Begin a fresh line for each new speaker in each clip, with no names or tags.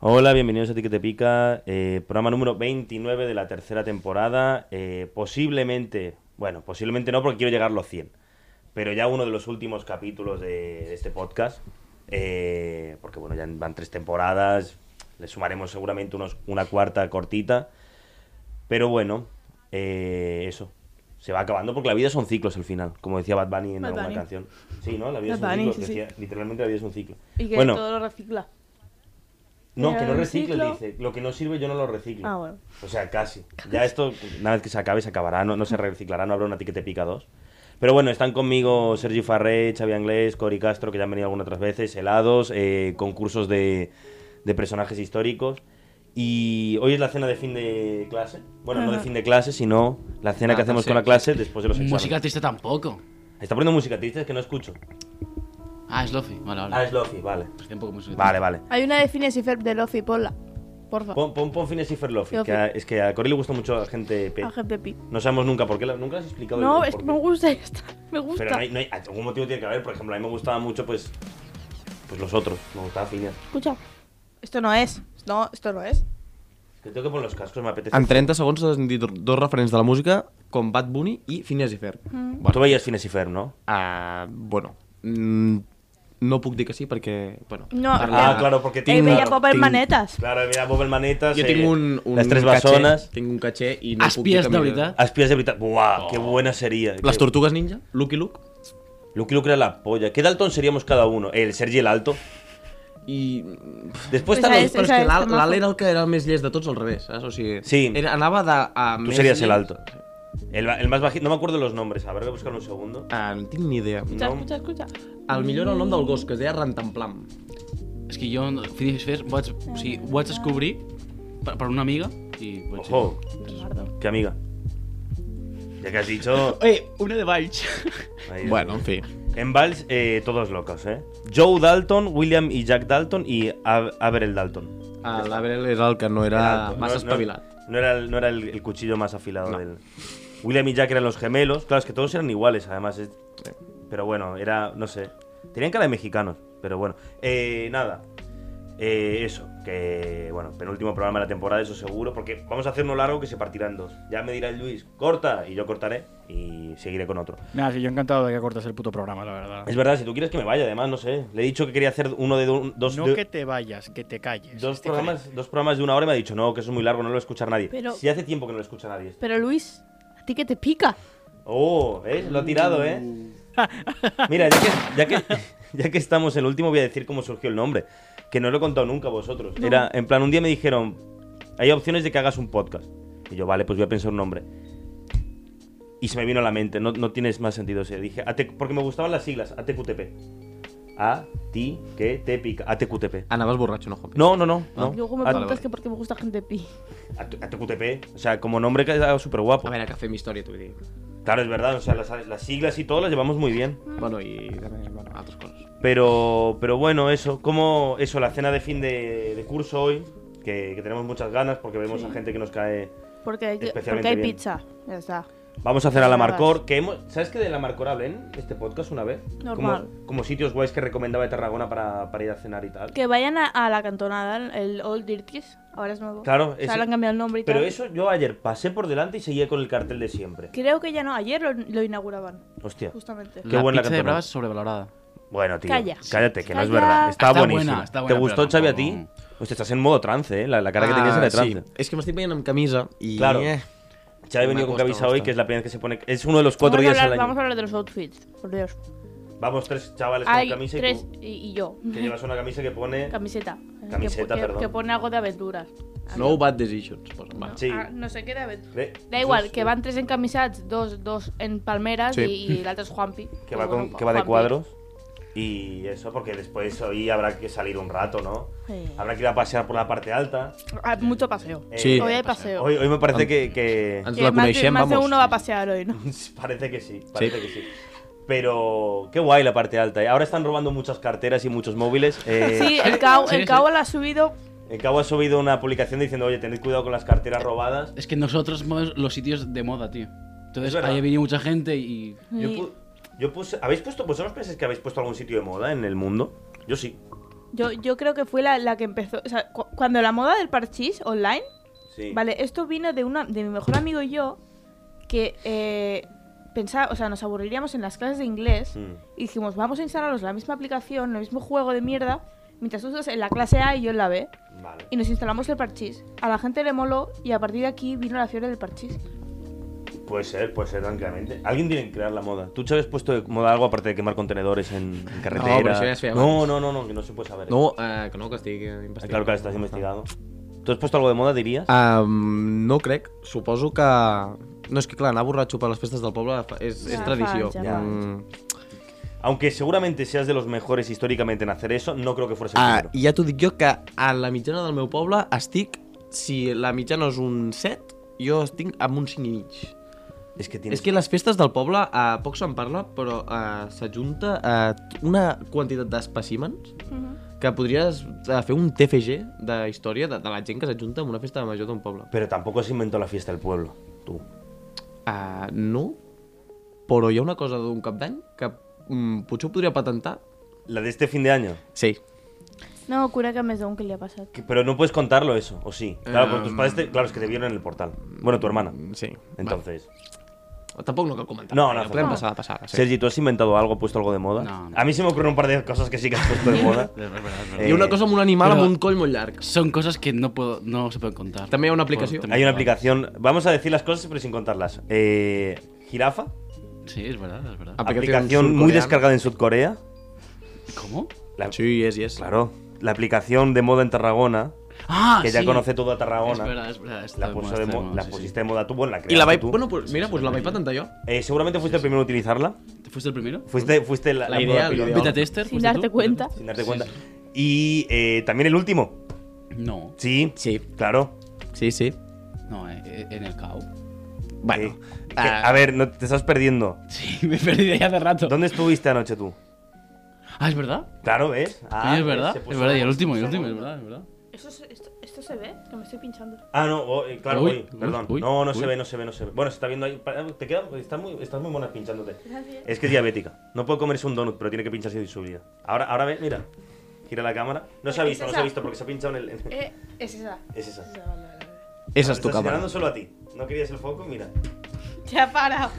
Hola, bienvenidos a Ti que te pica, eh, programa número 29 de la tercera temporada. eh, posiblemente, bueno, posiblemente no porque quiero llegar a los 100, pero ya uno de los últimos capítulos de, de este podcast, eh, porque bueno, ya van tres temporadas, le sumaremos seguramente unos, una cuarta cortita, pero bueno, eh, eso. Se va acabando porque la vida son ciclos al final, como decía Bad Bunny en
Bad
alguna
Bunny.
canción. Sí, ¿no? La vida
Bad
es un ciclo.
Bunny, sí,
que
sí.
decía- literalmente la vida es un ciclo.
Y que
bueno,
todo lo recicla.
no, que no
Era un
recicles,
ciclo.
dice. Lo que no sirve yo no lo reciclo.
Ah, bueno.
O sea, casi. Ya esto, una vez que se acabe, se acabará. No, no se reciclará, no habrá una etiqueta pica dos. Pero bueno, están conmigo Sergi Farré, Xavi Anglés, Cori Castro, que ya han venido algunas otras veces, helados, eh, concursos de, de personajes históricos. Y hoy es la cena de fin de clase. Bueno, no de
Ajá.
fin de clase, sino la cena
Ah,
que hacemos
sí.
con la clase después de los exámenes.
Música triste tampoco.
Está poniendo música triste, es que no escucho.
Ah, es Lofi. Vale, vale.
Ah, es Lofi, vale.
Pues tiempo que música
Vale,
triste.
vale.
Hay una de Phineas y Ferb de Lofi, ponla. Porfa.
Pon, pon, pon Phineas y Ferb Lofi,
Lofi.
que a- es que a Cori le gusta mucho la gente pe-
A GPP.
No sabemos nunca por qué, la- nunca has explicado.
No,
el
es que
por
me
qué.
gusta esta. Me gusta.
Pero no hay, no hay- algún motivo tiene que haber, por ejemplo, a mí me gustaba mucho, pues, pues los otros, me gustaba Phineas.
Escucha. Esto no es. No, esto no es.
Es Que tengo que poner los cascos, me apetece.
En 30 segons has sentit dos referents de la música com Bad Bunny i Phineas i Ferb. Mm.
Tú
Bueno,
veías Phineas y Ferb, ¿no?
uh, bueno mm, no puc dir que sí perquè... Bueno,
No,
Ah,
eh,
claro, porque
Eh,
tinc...
veía
claro,
Pop en
tinc-
manetas.
Claro, veía Bob el Manetas.
jo
eh,
tinc un, un
Las tres
caché,
Basonas.
Tinc un caché i no
Espies
puc dir que
de
mira-
veritat.
Aspías de Britannia.
Oh.
¡Buah! ¡Qué buena sería!
Les
Qué-
Tortugues Ninja, Lucky Luke
Luke Luke era la polla. ¿Qué Dalton seríamos cada uno? El Sergi el Alto.
i...
Después
Esa
están los...
es-
Però és que
és
l'Al-
temazo.
l'Al era el que era el més llest de tots al revés, saps? O sigui,
Sí.
era, anava de... A
Tú
més
serías el
llest-
Alto. El, el más bajito. No me acuerdo los nombres, habrá que buscarlo un segundo.
Ah, no tinc ni idea.
Escucha,
No.
escucha, escucha.
El millor era el nom del gos, que es deia Rantanplam.
És que jo, Phineas i Ferb, vaig, o sigui, ho vaig descobrir per, per una amiga pues i vaig
Ojo, qué amiga. Ya que has dicho...
Eh, una de Valls.
Ahí-
Bueno, en fi.
En Vals, eh, todos locos, ¿eh? Joe Dalton, William y Jack Dalton y Ab- Averell Dalton.
Ah, L'Averell era el que no
El
era
Dalton.
massa
No- no-
espavilat.
No, era, el, no era el, el cuchillo más afilado del. William y Jack eran los gemelos. Claro, es que todos eran iguales, además. es- Pero bueno, era. No sé. Tenían cara de mexicanos, pero bueno. Eh, nada. Eh, eso, que bueno, penúltimo programa de la temporada, eso seguro, porque vamos a hacer uno largo que se partirá en dos. Ya me dirá el Luis, corta, y yo cortaré y seguiré con otro.
Nada, sí, yo encantado de que cortes el puto programa, la verdad.
Es verdad, si tú quieres que me vaya, además, no sé. Le he dicho que quería hacer uno de do- dos.
no
de-
que te vayas, que te calles. Este
Dos
Es
programas, dos programas de una hora y me ha dicho, no, que eso es muy largo, no lo va a escuchar nadie.
Pero-
Si hace tiempo que no lo escucha nadie.
Pero Luis, a ti que te pica.
Oh, ¿ves? Lo ha tirado, ¿eh?
Mm.
Mira, ya que, ya, que, ya que estamos en el último, voy a decir cómo surgió el nombre. Que no lo he contado nunca a vosotros. Era, en plan, un día me dijeron, hay opciones de que hagas un podcast. Y yo, vale, pues voy a pensar un nombre. Y se me vino a la mente, no, no tienes más sentido. O sea, dije, AT porque me gustaban las siglas, ATQTP. A, ti, que, te pica. ATQTP.
Anaves borratxo, no, Juanpi?
No, no, no. no.
Ah, Luego me
A-
preguntas que por qué me gusta gente pi.
A tu- a tu QTP. O sea, como nombre queda súper guapo.
A veure, que fem història, t'ho dic.
Claro, es verdad. O sea, las, las siglas y todo las llevamos muy bien.
Bueno, i també, bueno, altres coses.
Pero, pero bueno, eso. Como eso, la cena de fin de, de curso hoy. Que, que tenemos muchas ganas porque vemos a gente que nos cae.
Porque hay, que- porque
Especialmente
hay
bien.
pizza. Ya está.
Vamos a cenar a la
Ganas.
Marcor. Que hemos, ¿Sabes que de la Marcor hablé en este podcast una vez?
Normal.
Como, como sitios guays que recomendaba de Tarragona para, para ir a cenar y tal.
Que vayan a, a la cantonada, el Old Dirties. Ahora es nuevo.
Claro,
o sea,
ese-
le han cambiado el nombre y
Pero
tal.
eso yo ayer pasé por delante y seguía con el cartel de siempre.
Creo que ya no. Ayer lo, lo inauguraban,
Hostia.
justamente.
Qué
la
buena
pizza de
cantonada.
Brava es sobrevalorada.
Bueno, tío.
Pues Calla.
Cállate, que no es
Calla.
verdad. Está,
Está
buenísimo.
buena, está buena,
¿Te gustó,
pero
Xavi, a ti?
tampoco- Ah,
Hostia, estás en modo trance, ¿eh? La, la cara que tenías era de trance.
Ah, Sí. És que m'estic veient amb camisa i...
Claro.
Eh,
Xavi ha
Me
venido con
gusta, me
camisa hoy,
gusta.
que es la primera vez que se pone... Es uno de los cuatro
vamos
días
a
al
hablar,
año.
Vamos a hablar de los outfits, por Dios.
Vamos, tres chavales
Hay
con camisa y
tres
tú,
y, y yo.
que llevas una camisa que pone...
Camiseta.
Camiseta,
que,
perdón.
Que, que pone algo de aventuras.
No bad decisions. Posa, va.
No,
Sí.
ah, no sé qué de aventuras.
Ve,
Da igual,
just-
que van tres encamisats, dos, dos en palmeras
Sí.
i, i l'altre és Juanpi.
que va, con-
Bueno,
que va de
Juanpi.
cuadros y eso, porque después hoy habrá que salir un rato, ¿no?
Sí.
Habrá que ir a pasear por la parte alta.
Hay Ah, mucho paseo.
Eh,
Sí.
Hoy hay paseo.
Hoy, hoy me parece que, que-
Ens
Que
la
más de-
coneixem,
más de
vamos.
uno va a pasear hoy, ¿no?
parece que sí, parece que sí. Pero qué guay la parte alta. ¿eh? Ahora están robando muchas carteras y muchos móviles. eh,
Sí, el Cau,
Sí,
el
sí.
Cau la ha subido.
El cabo ha subido una publicación diciendo, oye, tened cuidado con las carteras robadas.
Es que nosotros movemos los sitios de moda, tío. Entonces
Es verdad.
ahí ha venido mucha gente y.
Yo,
Y
pu- yo puse... ¿Habéis puesto... ¿Vosotros pensáis que habéis puesto algún sitio de moda en el mundo? Yo sí.
Yo, yo creo que fue la, la que empezó. O sea, cu- cuando la moda del parchís online.
Sí.
Vale, esto vino de una de mi mejor amigo y yo. Que eh, pensaba, o sea, nos aburriríamos en las clases de inglés.
Mm.
Y dijimos, vamos a instalarnos la misma aplicación, el mismo juego de mierda. Mientras tú estás en la clase A y yo en la B.
Vale.
Y nos instalamos el parchís. A la gente le moló y a partir de aquí vino la fiebre del parchís.
Puede ser, puede ser tranquilamente. Alguien tiene que crear la moda. ¿Tú Chávez, has puesto de moda algo aparte de quemar contenedores en, en carretera?
No, pero eso ya se ve
no,
antes.
no, no, no, que no se puede saber.
No, eh, que no, que estic eh,
Ah,
investigant.
Claro que estás investigado. ¿Tú has puesto algo de moda, dirías?
Um, no crec, suposo que... No, és que clar, anar borratxo per les festes del poble fa- és,
Ja
és tradició.
fa, ja
fa.
Mm.
Aunque seguramente seas de los mejores históricamente en hacer eso, no creo que fueras el
Ah,
primero.
i ja t'ho dic jo que a la mitjana del meu poble estic, si la mitjana és un 7, jo estic amb un 5 i mig.
Es que tienes
És que les festes del poble, a poc se'n parla, però eh, s'ajunta eh, t- una quantitat d'espècimens que podries eh, fer un TFG de història de, de la gent que s'ajunta en una festa major d'un poble.
Pero tampoco se inventó la fiesta del pueblo, tú.
Uh, no, però hi ha una cosa d'un cap d'any que mm, potser ho podria patentar.
La de este fin de año.
Sí.
No, cura que me da un que le ha pasado.
Que- Pero no puedes contarlo eso, ¿o sí? Claro, porque tus
Em,
padres, te- claro, es que te vieron en el portal. Bueno, tu hermana.
Mm,
Sí.
Entonces,
Va. Tampoc no cal comentar.
No, no,
ja podem
no.
passar, passar. Sí.
Sergi, ¿tú has inventado algo, puesto algo de moda?
No, no.
A mí se me ocurren un par de cosas que sí que has puesto de moda. Eh,
Es verdad, es verdad.
Hi ha Eh, una cosa amb un animal
però-
amb un coll molt llarg.
Son cosas que no puedo, no se pueden contar.
També hi ha una
Por
aplicació.
temas
Hay una
legales.
aplicación. Vamos a decir las cosas pero sin contarlas. Eh, jirafa,
Sí, es verdad, es verdad.
Ah.
aplicación,
Aplicación
muy
surcoreana.
descargada en Sudcorea.
¿Cómo?
La-
Sí, és, és.
Claro, la aplicación de moda en Tarragona,
Ah,
que ya
sí.
conoce toda
Es
Tarragona.
verdad, es verdad. está
La,
de
puso
moda,
de
está de
mo-
moda,
la
sí, sí.
pusiste de moda tú, bueno, la creaste
I la vaig...
tú.
Bueno, pues, mira, pues la vaig patentar jo.
Eh, seguramente fuiste el primero en utilizarla.
¿Te ¿Fuiste el primero?
Fuiste, fuiste la,
La
la
idea,
moda
la
piloto,
idea.
¿Beta tester?
Sin
fuiste
darte
tú?
cuenta.
sin darte
Sí,
cuenta.
sí.
Y eh, también el último.
No,
Sí,
Sí,
claro.
sí, sí.
no, eh, eh, en el CAO.
Bueno,
Sí. Eh, Que-
ah.
a ver, no, te estás perdiendo.
Sí, me perdí de ya hace rato.
¿Dónde estuviste anoche tú?
Ah, es verdad.
Claro, ¿ves? Ah,
Sí, es
¿ves?
verdad.
Se
Es
puso
verdad,
la-
y el último, y el
se puso
último,
la-
es verdad, es verdad.
¿Eso se- esto, esto se ve? Que me estoy pinchando.
Ah, no, oh, eh, claro,
Uy,
voy,
uy,
perdón.
uy,
no, no se
uy.
ve, no se ve, no se ve. Bueno, se está viendo ahí. pa- Te queda, estás muy, estás muy mona pinchándote. Es que es diabética. No puede comerse un donut, pero tiene que pincharse de su vida. Ahora, ahora ve, mira. Gira la cámara. No se ha
Es
visto, no se
esa.
ha visto porque se ha pinchado en el. en-
Eh, es esa.
Es esa.
Esa, vale, vale, vale.
Te
Esa és tu
estás
càmera.
mirando solo a ti. No querías el foco, mira.
Se ha parado.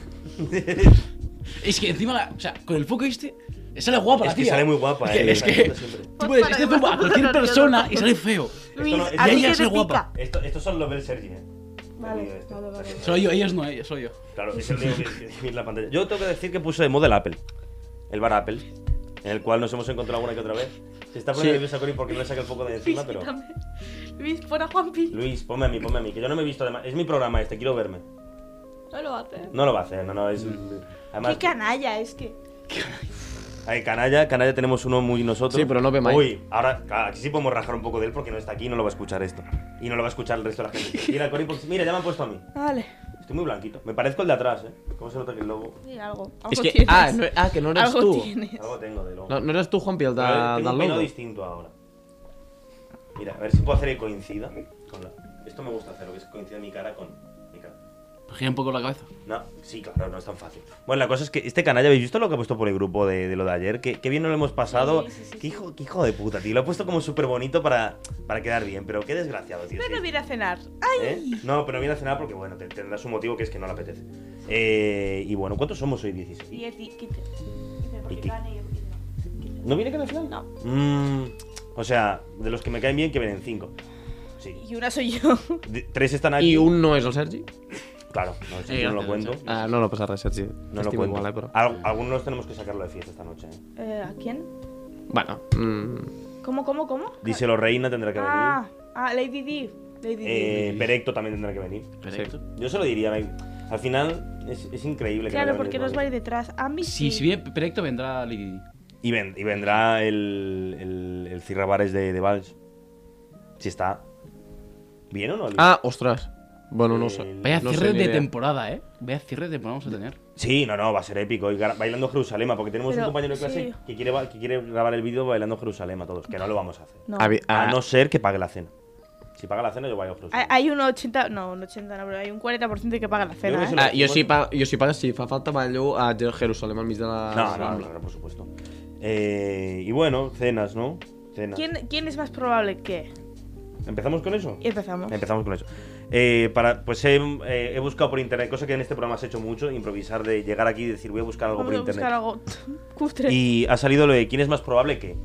Es que encima, la, o sea, con el foco este, sale guapa
es
la
que
tía.
sale muy guapa,
Es que-
eh.
es
la
que-
pinta siempre.
Tú puedes, este zumba a cualquier persona y sale feo.
Luis,
no- ella
a ti que
es
te
guapa.
pica.
Esto, estos son los del Sergi, eh.
Vale,
El mío este.
vale, vale.
Soy yo, ellos no, ellos, soy yo.
Claro, es el único que- que vi en la pantalla. Yo tengo que decir que puse de moda el Apple. El bar Apple. En el cual nos hemos encontrado alguna que otra vez. Se está poniendo
Sí.
nerviosa Cory porque no le saca el foco de encima, pero.
Luis, pon a Juanpi.
Luis, ponme a mí, ponme a mí, que yo no me he visto además. Es mi programa este, quiero verme.
No lo hace.
No lo va a hacer, no, no, es. Además,
Qué canalla, es que.
hay canalla, canalla tenemos uno muy nosotros.
Sí, pero no ve Mike.
Uy, ahora, claro, aquí sí podemos rajar un poco de él porque no está aquí y no lo va a escuchar esto. Y no lo va a escuchar el resto de la gente. Mira, Cory, porque- mira, ya me han puesto a mí.
Vale.
Estoy muy blanquito. Me parezco el de atrás, ¿eh? ¿Cómo se nota que el lobo?
Sí, algo. algo
És que...
tienes.
Ah, no, ah, que no eres
algo
tu.
tienes.
Algo tengo de lobo.
No, no eres tu, Juanpi, el de,
Pero tengo
del
un peinado
logo.
distinto ahora. Mira, a ver si puedo hacer que coincida con la... Esto me gusta hacerlo, que es que coincida mi cara con mi cara.
Gira un poco la cabeza.
No, sí, claro, no es tan fácil. Bueno, la cosa es que este canalla, ¿habéis visto lo que ha puesto por el grupo de, de lo de ayer? Qué, qué bien nos lo hemos pasado.
Sí, sí, sí,
qué,
sí.
Hijo, qué hijo de puta, tío. Lo ha puesto como súper bonito para, para quedar bien, pero qué desgraciado, tío.
Pero
sí.
no viene a cenar. Ay,
¿Eh? No, pero viene a cenar porque, bueno, te- tendrá su motivo que es que no le apetece. Eh, y bueno, ¿cuántos somos hoy? 16.
y el quite.
Y quita. ¿No viene que al final?
No.
Mm, o sea, de los que me caen bien, que vienen cinco. Sí.
Y una soy yo.
De- Tres están aquí.
I un no és el Sergi?
Claro, no, eso
Eh,
yo no lo
gracias,
cuento.
gracias.
Ah, no, no passa res, Sergi.
No lo
T'estimo
cuento.
Igual, eh, però...
¿eh?
Ah.
Al- algunos tenemos que sacarlo de fiesta esta noche. ¿eh?
Eh, ¿A quién?
Bueno, mm,
¿Cómo, cómo, cómo?
Díselo Reina tendrá que venir.
Ah, ah, Lady D. Lady D.
Eh, Perecto también tendrá que venir.
Perfecto.
Yo se lo diría, ven. Al final es, es increíble que
claro,
no venga
porque
Lady
nos va a
Gaga.
ir detrás. Ambi
Si, si bien Perecto vendrá Lady Di.
y, ven- y vendrá el, el, el Cirra Bares de, de Valls. Si está. ¿Bien o no? Luis?
Ah, ostras. Bueno, no ho sé.
El-
Vaya
No sé,
cierre
ni
de
idea.
temporada, ¿eh? Vaya cierre de temporada vamos a tener.
Sí, no, no, va a ser épico. Y gra- bailando Jerusalema, porque tenemos
Pero,
un compañero de clase
sí.
que, quiere, ba- que quiere grabar el vídeo bailando Jerusalema todos, que no lo vamos a hacer.
No.
A ver,
A
ah,
no ser que pague la cena. Si paga la cena, yo bailo Jerusalema.
Hay, hay un 80, no, un 80 no, pero hay un 40% que paga la
Yo
cena,
creo que se
¿eh?
ah, jo, si pa, jo si paga, si fa falta ballo a Jerusalem al mig de
ah.
la...
No, no, no, claro, por supuesto. Eh, y bueno, cenas, ¿no? Cenas.
¿Quién, ¿Quién es más probable que?
¿Empezamos con eso?
Y empezamos.
Empezamos con eso. Eh, para, pues he, eh, he buscado por internet, cosa que en este programa has hecho mucho, improvisar de llegar aquí y decir voy a buscar algo
Vamos
por
a
internet.
buscar algo cutre.
Y ha salido lo de quién es más probable que.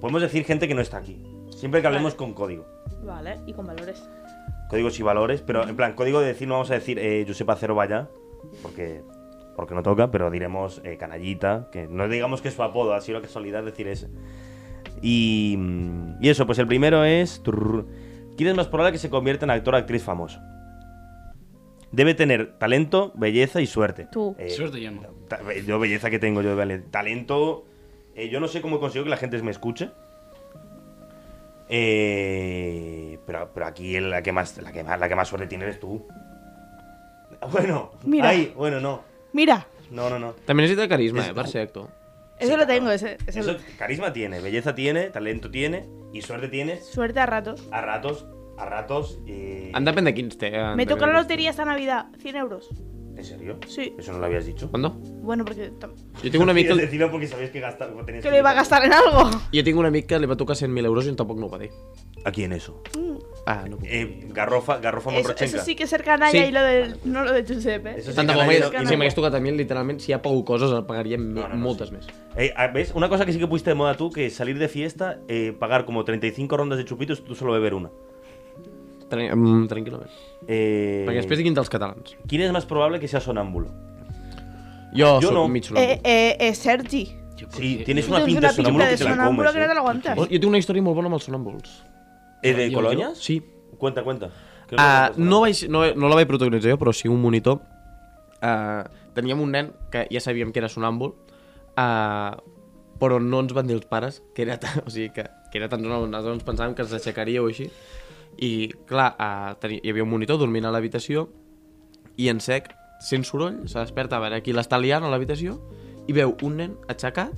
Podemos decir gente que no está aquí. Siempre que hablemos con código.
Vale, y con valores.
Códigos y valores, pero en plan, código de decir, no vamos a decir eh, Josepa Cero Vaya, porque, porque no toca, pero diremos eh, Canallita, que no digamos que es su apodo, ha sido la casualidad decir ese. Y, mm, y eso, pues el primero es. turr, ¿Quién es más probable que se convierta en actor o actriz famoso? Debe tener talento, belleza y suerte.
Tú.
Eh,
Suerte yo no.
ta- Yo, belleza que tengo yo, vale. Talento. eh, yo no sé cómo consigo que la gente me escuche. Eh, pero, pero aquí la que, más, la, que más, la que más suerte tiene eres tú. Bueno,
Mira.
ay, bueno, no.
Mira,
No, no, no.
També necessita carisma, eh, per ser actor.
eso
Sí,
lo
claro.
tengo, ese, ese
Eso
lo-
carisma tiene, belleza tiene, talento tiene y suerte tiene.
Suerte a ratos.
A ratos, a ratos. eh, Y...
En depèn de quins té. en
Me
depèn
tocó
de
la
quins-
lotería esta Navidad, 100 euros.
¿En serio?
Sí.
Eso no lo habías dicho.
¿Cuándo?
Bueno, porque tam-
Jo tinc un amic
Quieres
que...
decirlo porque sabías que gastar. tenías
que lo iba a gastar en algo.
Jo tinc un amic que li va tocar 100.000 euros i tampoc no ho va dir.
¿A quién eso?
Ah, no puc.
Eh, Garrofa, Garrofa
Eso,
Monrochenka.
eso sí que es ser canalla
Sí.
y lo del, no lo de Giuseppe.
Eso sí
Tant de
que
bo
nadie-
m'hagués-
que
si
no.
m'hagués tocat a mi, literalment, si ha pagut coses, el pagaria
No, no, no,
moltes
sí.
més.
Eh, ah, ¿Ves? Una cosa que sí que pusiste de moda tú, que salir de fiesta, eh, pagar como 35 rondas de chupitos, tú solo beber una.
Tran- mm, Tranquil·lament.
Eh,
Perquè després diguin dels catalans.
¿Quién es más probable que sea sonámbulo? Jo
Jo, jo soc
no.
mig
Eh,
solemne.
eh, eh, Sergi.
Yo por
Sí,
qué-
tienes
yo-
una
Tienes
pinta de
pinta
sonámbulo
de
que te la
sonámbulo
comes.
que no te
eh.
lo aguantas.
Oh, Jo tinc una història molt bona amb els sonàmbuls.
Eh, ¿De
Yo-
Colonia?
Sí.
Cuenta, cuenta. Creo que
Ah,
lo conozco.
no, vaig, no, no la vaig protagonitzar jo, però sí un monitor. Uh, teníem un nen que ja sabíem que era sonàmbul, uh, però no ens van dir els pares que era tan, o sigui, que, que era tan sonàmbul. Nosaltres ens pensàvem que ens aixecaria o així. I, clar, uh, teni, hi havia un monitor dormint a l'habitació i en sec, sent soroll, se desperta a veure qui l'està liant a l'habitació i veu un nen aixecat,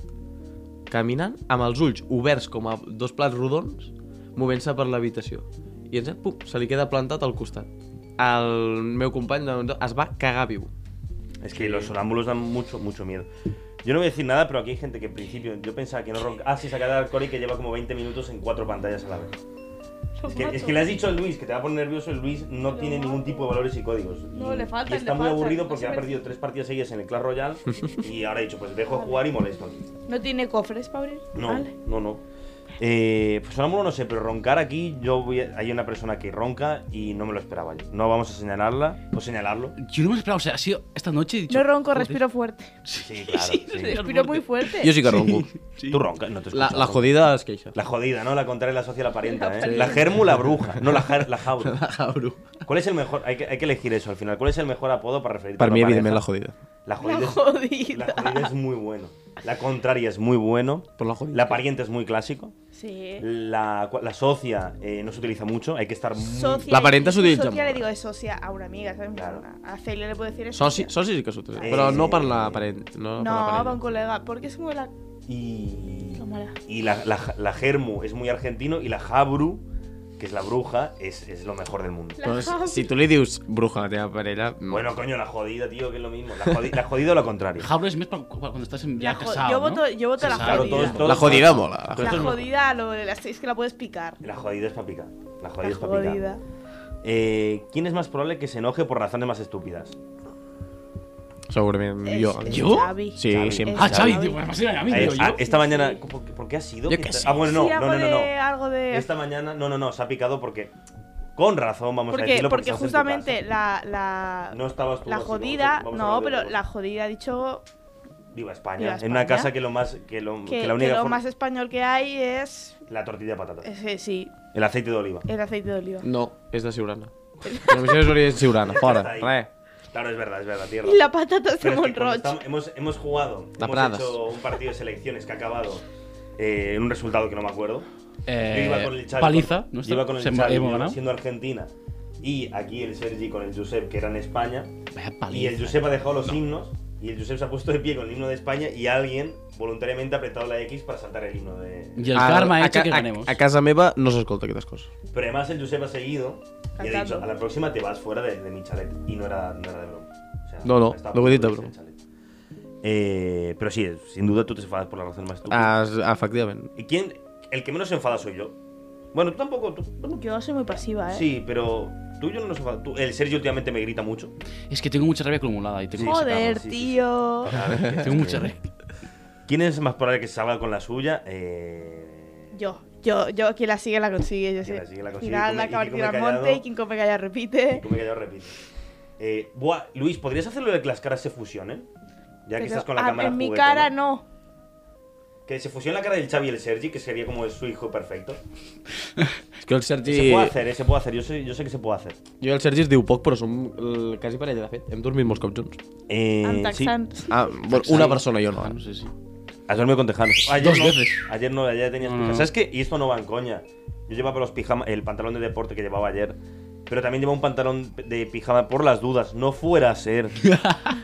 caminant, amb els ulls oberts com a dos plats rodons, movent-se per l'habitació. I en sec, pum, se li queda plantat al costat. El meu company doncs, es va cagar viu.
Es que los sonámbulos dan mucho, mucho miedo. Yo no voy a decir nada, pero aquí hay gente que en principio yo pensaba que no ronca. Ah, sí, saca el alcohol y que lleva como 20 minutos en cuatro pantallas a la vez. Es que, es que le has dicho a Luis que te va a poner nervioso. El Luis no tiene ningún tipo de valores y códigos.
No,
Y-
le faltan,
Y está
le
muy
faltan.
aburrido
No
porque
se
ha
merece.
perdido tres partidas seguidas en el Clash Royale. y ahora he dicho, pues dejo jugar y molesto aquí.
No tiene cofres para abrir.
No,
Vale.
no, no. Eh, pues sonámbulo no sé, pero roncar aquí, yo voy a- hay una persona que ronca y no me lo esperaba yo. No vamos a señalarla o señalarlo.
Yo no me esperaba, o sea, ha sido esta noche he dicho.
No ronco,
joder,
respiro fuerte.
Sí, claro. sí.
Respiro muy fuerte.
Jo sí que ronco.
Tú roncas, no te
La,
escucho.
la jodida es queixa.
La jodida, ¿no? La contraria la socia la parienta, ¿eh? La germu, la bruja, no la, jar- la jaula.
Abro.
¿Cuál es el mejor? Hay que, hay que elegir eso al final. ¿Cuál es el mejor apodo para referirte
Per
a una
mi,
pareja?
evidentment, la jodida.
La
La
jodida, es,
jodida.
la jodida es muy bueno. La contraria es muy bueno.
Però la jodida.
La pariente es muy clásico.
Sí.
La, la socia eh, no se utiliza mucho. Hay que estar muy...
Socia.
La parenta
y-
s'utilitza
Socia
molt.
le digo es socia a una amiga, ¿sabes?
Claro.
A Celia le puedo decir eso.
Soci, soci sí que s'utilitza,
Eh,
però no per la parent. No,
No,
per la
para
parella.
un colega. ¿Por qué se mueve la
Y,
cámara?
y la, la, la germu es muy argentino. Y la jabru, que es la bruja, es, es lo mejor del mundo.
La
Però si,
Javi.
si tu li dius bruja a la teva parella... no.
Bueno, coño, la jodida, tío, que es lo mismo. La, jodi- la jodida o la contraria.
Jaula es más para para cuando estás en
La
ya
jo-
casado.
yo
¿no?
voto, yo voto la
Claro,
jodida.
todo esto-
La jodida mola.
Todo
La
esto es mejor.
jodida, lo de las es que la puedes picar.
La jodida es para picar. La jodida
La
es para picar.
jodida.
Eh, ¿Quién es más probable que se enoje por razones más estúpidas?
Segurament
Es-
jo.
es
¿Yo?
Xavi.
Sí,
Xavi.
sí.
Ah, Xavi,
Eh, Xavi.
tío, además era a mí,
Eh,
digo yo.
ah, esta
Sí,
mañana,
sí.
¿por, qué- por qué ha sido?
Yo
que
qué
esta-
sé.
Ah, bueno, no,
Sí,
no,
algo
no, no, no.
de- algo de-
Esta mañana, no, no, no, se ha picado porque. Con razón, vamos a
Porque,
decirlo.
porque
estás en tu
justamente
casa.
la, la,
No estabas tú
la
así,
jodida,
vamos a- vamos a
no,
hablar de
pero
algo.
la jodida ha dicho
Viva España.
Viva
En una
España.
casa que lo más. Que, lo,
Que,
que la única
que lo
forma-
más español que hay es.
La tortilla de patata.
es- eh, sí,
El aceite de oliva.
el aceite de oliva.
No, és de Siurana. La missió és d'Orient Siurana, fora,
Està ahí.
res.
Claro, es verdad, es verdad, tierra.
Y la patata es de
Pero es que cuando
Monroch.
estamos- hemos, hemos jugado,
La
hemos
Pradas.
hecho un partido de selecciones que ha acabado eh, en un resultado que no me acuerdo. Yo
Eh,
iba con el Xavi,
paliza,
con-
¿no?
yo iba con el
Se-
Xavi,
hemos
yo
ganado.
siendo Argentina. Y aquí el Sergi con el Josep, que eran España.
Vaya
Y el
paliza.
Josep ha dejado los himnos. Y el Josep se ha puesto de pie con el himno de España. Y alguien voluntariamente ha apretado la X para saltar el himno de.
Y el
Al-
karma ha
a
hecho
ca-
que
a-
ganemos.
A, casa meva no s'escolta aquestes coses.
Pero además el Josep ha seguido. Y ha dicho:
Cantando.
A la próxima te vas fuera de, de mi chalet. Y no era, no era de broma. O sea,
No, no,
estaba
lo bonito,
fuera de
bro.
ese chalet. Eh, pero sí, sin duda tú te enfadas por la razón más estúpida.
Ah, es- efectivament.
¿Y quién? El que menos se enfada soy yo. Bueno, tú tampoco. tú- bueno,
Yo soy muy pasiva, ¿eh?
Sí, pero tú y yo no nos enfadamos. Tú- El Sergio últimamente me grita mucho.
Es que tengo mucha rabia acumulada y tengo que
Joder,
sí, sí, sí.
tío.
sacarla. Tengo mucha rabia.
¿Quién es más probable que se salga con la suya? Eh...
Yo, yo, yo, quien la sigue la consigue. Yo
Quien
sé.
la sigue, la consigue,
Final,
y
la
come- y
acaba de
come
tirar
callado.
monte y quien come calla repite.
Tú me callas, repito. Eh, buah, Luis, ¿podrías hacerlo de que las caras se fusionen? Ya que
Pero,
estás con la
ah,
cámara.
en mi
juguetona.
cara no.
Que se fusione la cara del Xavi y el Sergi, que sería como su hijo perfecto.
És que el Sergi...
Se puede hacer, eh, se puede hacer. Yo sé, yo sé que se puede hacer.
Jo i el Sergi es diu poc, però som eh, quasi parella, de fet. Hem dormit molts cops junts.
Eh,
Amb
sí.
taxant.
Ah, bueno, una persona jo no.
Ah,
eh?
no sé si.
Has dormido con Mm. tejanos. Ayer
Dos
no,
veces.
Ayer no, ayer tenías
No,
pijas.
no.
¿Sabes qué? Y esto no va en coña. Yo llevaba los pijama, el pantalón de deporte que llevaba ayer. Pero también llevaba un pantalón de pijama por las dudas. No fuera a ser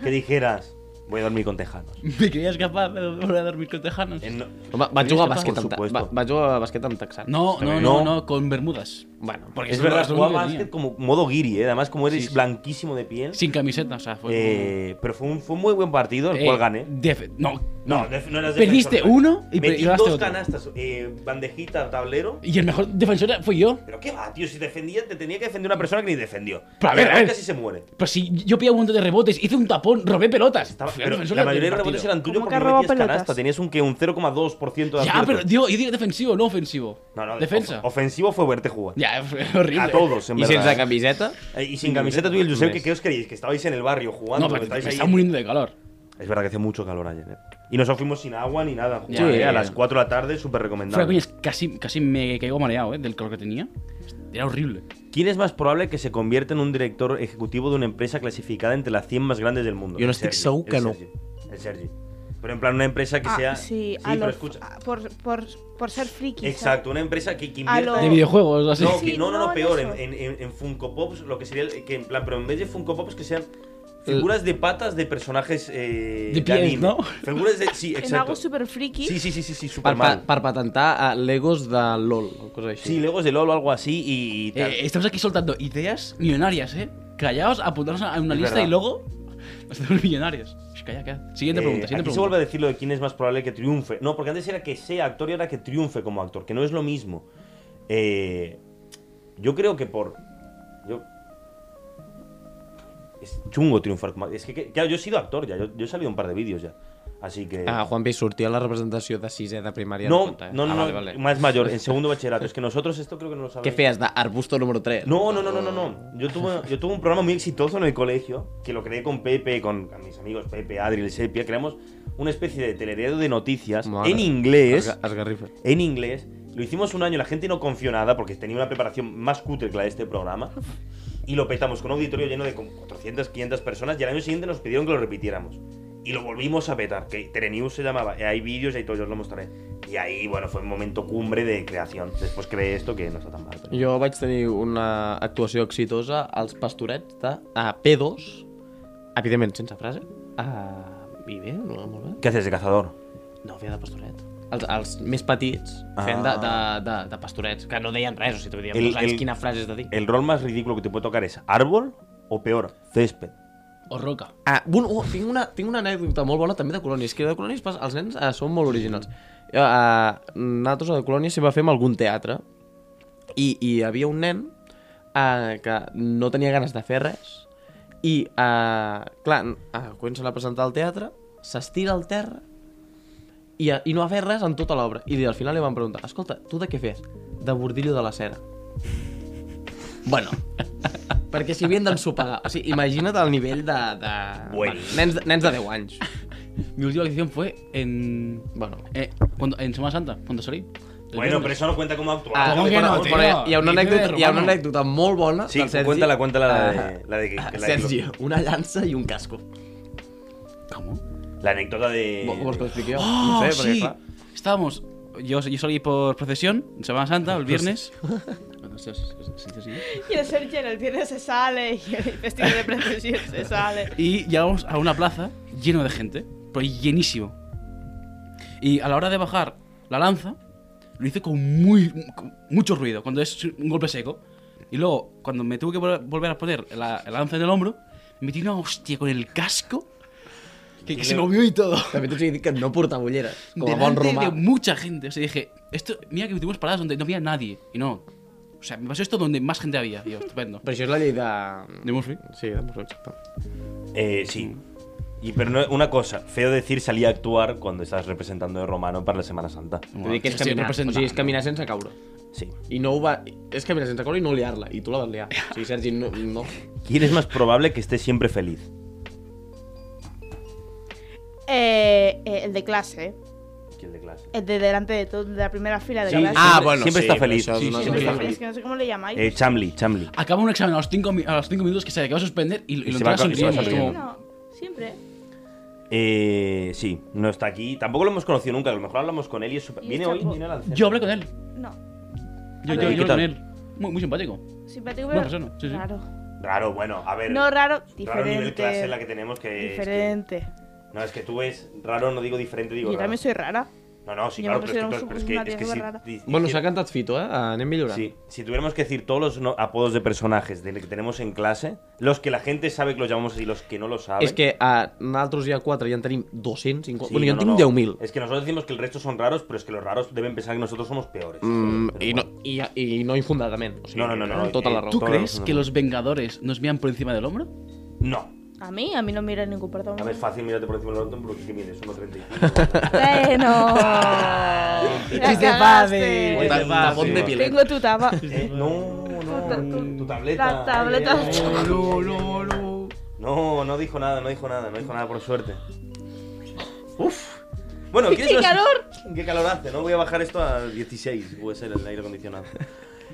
que dijeras, voy a dormir con tejanos.
Me quería escapar de volver a dormir con tejanos.
Eh, no.
Va, vaig jugar a bàsquet
Por
amb, ta-
supuesto.
va, vaig jugar a bàsquet amb Texans.
No, no,
No.
no, no, con Bermudas.
Bueno,
Porque
Es
eso
verdad,
es lo
jugaba
único que tenía.
básquet como modo guiri, ¿eh? Además, como eres
Sí, pues, sí.
blanquísimo de piel.
Sin camiseta, o sea, fue.
Eh, pero fue un, fue un muy buen partido,
Eh,
el cual gané.
def- No, no.
def- no eras
Perdiste
defensor.
uno y
Metí
perdiste
dos
otro.
canastas, eh, bandejita, tablero.
Y el mejor defensor fui yo.
Pero qué va, tío, si defendía, te tenía que defender una persona que ni defendió.
Pero a ver,
Y
a ver.
casi se muere.
Pero si yo pillaba un montón de rebotes, hice un tapón, robé pelotas.
Estaba-
Fui el
pero
defensor
la
del
mayoría de
partido.
rebotes eran tuyos
¿Cómo que
porque no
roba
metías
pelotas?
canasta, tenías un que un 0,2% de
Ya,
acierto.
pero digo, yo digo defensivo, no ofensivo.
No, no,
Defensa.
of- ofensivo fue verte jugar.
Ya, fue horrible.
A todos, en
I
verdad.
sense camiseta?
Eh, y sin camiseta tú y el Josep, ¿qué, qué os creéis? Que estabais en el barrio jugando.
No,
que
pero me
estabais ahí-
está muriendo de calor.
Es verdad que hace mucho calor ayer. eh. Y nos fuimos sin agua ni nada. a jugar,
Ya,
eh,
ya,
a
ya.
las 4 de la tarde, súper
Fuera, coño,
recomendable.
es- casi, casi me caigo mareado, ¿eh? Del calor que tenía. Era horrible.
¿Quién es más probable que se convierta en un director ejecutivo de una empresa clasificada entre las 100 más grandes del mundo?
Yo no
El
estoy
Sergi,
seguro
el
que no.
Sergi, El Sergi. Pero en plan, una empresa que
Ah,
sea.
sí, a ah,
pero
lo-
escucha.
a- por, por, por ser friki. ¿sabes?
Exacto, una empresa que, que
A
invierta
lo-
De
en-
videojuegos, así.
No,
Sí,
que- no, no, no,
no,
peor, en,
eso.
en, en- en Funko Pops, lo que sería el- que en plan, pero en vez de Funko Pops que sean figuras de patas de personajes eh,
Eh, De pies,
anime.
¿no?
Figuras de sí,
En algo
exacto.
súper friki.
Sí, sí, sí, sí, sí,
Per,
super
pa, per patentar a Legos de LOL o coses així.
Sí, Legos de LOL o algo así y, y tal.
Eh, estamos aquí soltando ideas millonarias, ¿eh? Callaos, apuntaros a una
Es
lista
verdad.
y luego nos hacemos millonarios. Sh, Calla, calla. Siguiente
Eh,
pregunta, siguiente
aquí se
pregunta.
vuelve a decir lo de quién es más probable que triunfe. No, porque antes era que sea actor y ahora que triunfe como actor, que no es lo mismo. Eh, yo creo que por. Yo. Es chungo triunfar como actor. Es que, que- claro, yo he sido actor ya, yo, yo he salido un par de vídeos ya. Así que.
Ah, Juan Pi, sortia la representació de sisè de primària.
no,
compte, eh?
no, no,
ah,
no,
vale, vale.
más mayor, en segundo bachillerato. Es que nosotros esto creo que no lo
Què
sabemos.
feies, d'arbusto número 3?
No, no, no, no, no, no. Yo tuve, yo tuve un programa muy exitoso en el colegio, que lo creé con Pepe, con mis amigos Pepe, Adri, el Sepia. Creamos una especie de teleredo de noticias
Madre.
en inglés.
Esga- Esgarrifa.
En inglés. Lo hicimos un año, la gente no confió nada porque tenía una preparación más cutre que la de este programa. Y lo petamos con un auditorio lleno de como 400, 500 personas. Y al año siguiente nos pidieron que lo repitiéramos. Y lo volvimos a petar, que Terenews se llamaba. Eh, Hay vídeos y ahí todo, yo os lo mostraré. Y ahí, bueno, fue un momento cumbre de creación. Después creé esto que no está tan mal. pero-
Jo vaig tenir una actuació exitosa als pastorets de a P2, evidentment sense frase, a... i bé, no, molt bé.
¿Qué haces de cazador?
No, feia de pastoret. Els, els més petits feien de, de, de, de pastorets, que no deien res, o sigui, t'ho deien
Ah. El-
molts anys,
el-
quina frase has de dir.
El rol más ridículo que te puede tocar es árbol o peor, césped.
O roca.
Ah, un, oh, tinc, una, tinc una anècdota molt bona també de colònies, que de colònies pas- els nens eh, són molt originals. Eh, eh, nosaltres a colònies sempre fem algun teatre i, i hi havia un nen eh, que no tenia ganes de fer res i, eh, clar, eh, quan se l'ha presentat al teatre, s'estira al terra i, i no va fer res en tota l'obra. I al final li van preguntar, escolta, tu de què fes? De bordillo de la cera. bueno, perquè s'hi havien d'ensopegar. O sigui, imagina't el nivell de... de...
Bueno.
Nens, de- nens de 10 anys.
Mi última lección fue en.
Bueno.
eh, cuando- en Semana Santa, cuando salí.
Bueno, pero eso no cuenta como
Ah,
actuar.
¿Cómo que
però-
no,
però hi ha-
tio?
hi ha una
Dice
anècdota, hi ha una
romano.
anècdota molt bona
Sí,
del Sergi.
cuéntala, cuéntala la de-
Ah,
la de que- que la-
Sergi, una llança i un casco.
¿Cómo?
La anécdota de.
Vol- Vols que ho expliqui jo?
¡Oh,
no sé, perquè
sí!
clar...
Estábamos. Yo, yo salí por procesión en Semana Santa, el viernes. Bueno, esto es- es- es- es- es-
Y el Sergio en el viernes se sale y el vestido de procesión se sale.
Y llegamos a una plaza lleno de gente, pero llenísimo. Y a la hora de bajar la lanza, lo hice con, muy, con mucho ruido, cuando es un golpe seco. Y luego, cuando me tuve que vol- volver a poner la, la lanza en el hombro, me metí una hostia con el casco que, que se movió y todo.
També t'ho he dit que no portar ulleres, com a bon
delante
romà.
de mucha gente. O sea, dije, esto, mira que tuvimos paradas donde no había nadie. Y no. O sea, me pasó esto donde más gente había. Y yo, estupendo.
Però això és la llei de...
De Murphy.
Sí, de Murphy, exacte.
Eh, sí. Y, pero no- una cosa, feo decir salir a actuar cuando estás representando de romano para la Semana Santa.
Vull dir que és
Estoy
caminar, o sigui, és
representando.
caminar sense caure.
Sí.
I no ho va... És caminar sense caure i no liar-la, i tu la vas liar. O sigui, Sergi, no... no.
¿Quién es más probable que esté siempre feliz?
Eh, eh, el de clase,
¿Quién de clase?
el de delante de todo, de la primera fila de
Sí,
clase. Ah,
Ah, bueno, Siempre sí, està feliç.
però això
Sí,
no-
sí,
no-
sí.
no-
Es que no sé cómo le llamáis.
Eh, Chamli, Chamli.
Acaba un examen a los 5 minutos que sabe que va a suspender y,
Y
lo
se va
entrega
co- y se va
sonriendo. Es
sonriendo.
como,
No, siempre.
Eh, sí, no está aquí. Tampoco lo hemos conocido nunca, a lo mejor hablamos con él y es súper...
Y
¿Viene
es
hoy?
chapo.
¿Viene al
yo hablé con él.
No. Ah,
Yo, yo,
¿y
yo
qué
hablé
tal?
con él. Muy, muy simpático.
Simpático,
Buena
pero
persona, sí, sí.
raro.
Raro, bueno, a ver.
No raro,
Raro nivel
diferente.
clase en la que tenemos que... es que-
diferente.
no, es que tú ves raro, no digo diferente, digo
Yo
raro.
también soy rara.
No, no, sí,
Yo
claro,
me
pero es que, todos-
considero
pero es
un-
que,
una
es que
tía
si,
rara.
di-
Bueno,
si-
s'ha cantat Fito, eh? Anem millorant.
Sí, si tuviéramos que decir todos los no- apodos de personajes de que tenemos en clase, los que la gente sabe que los llamamos así y los que no lo saben.
És que a nosaltres hi ha 4 i en tenim 250...
Sí,
bueno,
no,
jo en tinc
no, no.
10.000.
Es que nosotros decimos que el resto son raros, pero es que los raros deben pensar que nosotros somos peores.
Mm,
Pero
i, no,
bueno.
i, I no infundadament. O sigui,
No, no, no, no,
Tota
eh,
la raó.
¿Tú
Todo
crees
eso,
que
no.
los Vengadores nos miran por encima del hombro?
No.
A mí, a mí no me mira en ningún portón.
A ver, es fácil, mírate por encima del hombro, porque mides 1,35.
Bueno. Ah.
Chiste
La cagaste.
padre.
Ta- Tapón de pilet.
Tengo tu tapa.
¿Eh? No,
Tu ta- tu-
no, tu tableta. Eh,
la tableta.
Ay, ay, ay. No, no dijo nada, no dijo nada, no dijo nada por suerte. Uf. Bueno, ¿quieres
¡Qué
unas-
calor!
¿Qué calor hace? No voy a bajar esto a 16, puede ser el aire acondicionado.